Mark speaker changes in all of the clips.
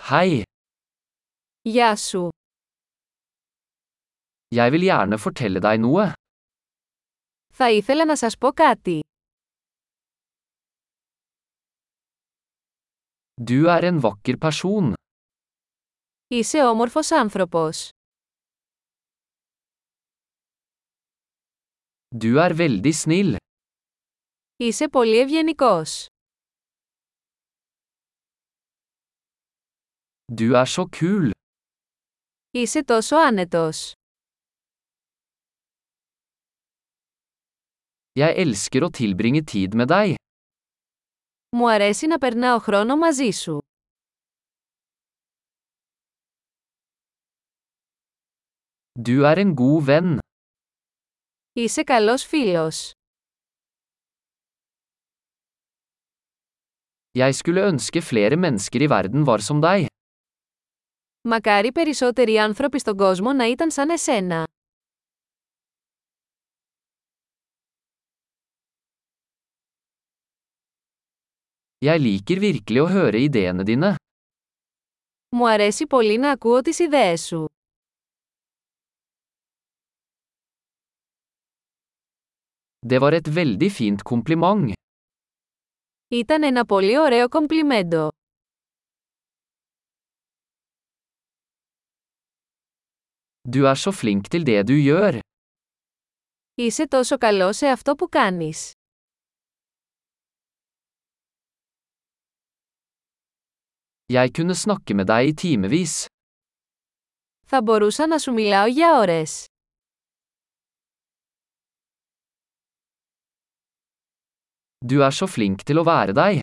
Speaker 1: Hei,
Speaker 2: Γεια σου.
Speaker 1: jeg vil gjerne fortelle deg noe.
Speaker 2: Θα ήθελα να σας πω κάτι.
Speaker 1: Du er en vakker person.
Speaker 2: Είσαι όμορφος άνθρωπος.
Speaker 1: Du er veldig snill.
Speaker 2: Είσαι πολύ ευγενικός.
Speaker 1: Du er så kul.
Speaker 2: Είσαι τόσο άνετος.
Speaker 1: Jeg elsker å tilbringe tid med deg.
Speaker 2: Μου αρέσει να περνάω χρόνο μαζί σου.
Speaker 1: Du er en god venn.
Speaker 2: Είσαι καλός φίλος.
Speaker 1: Jeg skulle ønske flere mennesker i verden var som deg.
Speaker 2: Μακάρι περισσότεροι άνθρωποι στον κόσμο να ήταν σαν εσένα.
Speaker 1: Jeg liker virkelig å høre ideene dine.
Speaker 2: Μου αρέσει πολύ να ακούω τις ιδέες σου.
Speaker 1: Det var et veldig fint kompliment.
Speaker 2: Ήταν ένα πολύ ωραίο κομπλιμέντο.
Speaker 1: Du er så flink til det du gjør.
Speaker 2: Είσαι τόσο καλό σε αυτό που κάνεις.
Speaker 1: Jeg kunne snakke med deg i timevis.
Speaker 2: Θα μπορούσα να σου μιλάω για ώρες.
Speaker 1: Du er så flink til å være deg.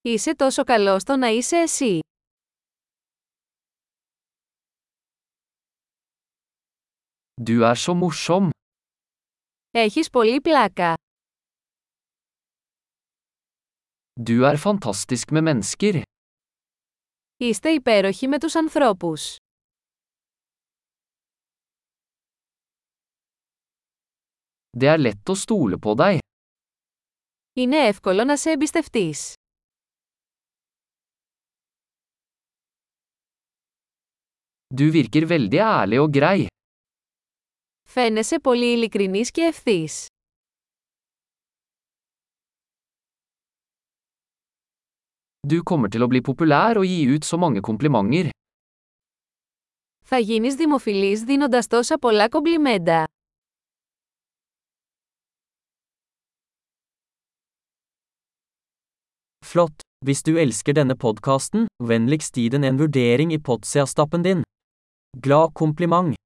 Speaker 2: Είσαι τόσο καλό στο να είσαι εσύ.
Speaker 1: Du er så morsom.
Speaker 2: Έχεις πολύ πλάκα.
Speaker 1: Du er fantastisk med mennesker.
Speaker 2: Είστε υπέροχοι με τους ανθρώπους.
Speaker 1: Det er lett å stole på deg.
Speaker 2: Είναι εύκολο να σε εμπιστευτείς.
Speaker 1: Du virker veldig ærlig og grei.
Speaker 2: Φαίνεσαι πολύ ειλικρινής και ευθύς.
Speaker 1: Du kommer til å bli populær og gi ut så mange komplimenter.
Speaker 2: Θα γίνεις δημοφιλής δίνοντας τόσα πολλά κομπλιμέντα.
Speaker 3: Flott! Hvis du elsker denne podkasten, vennligst gi den en vurdering i Potsia-stappen din. Glad kompliment!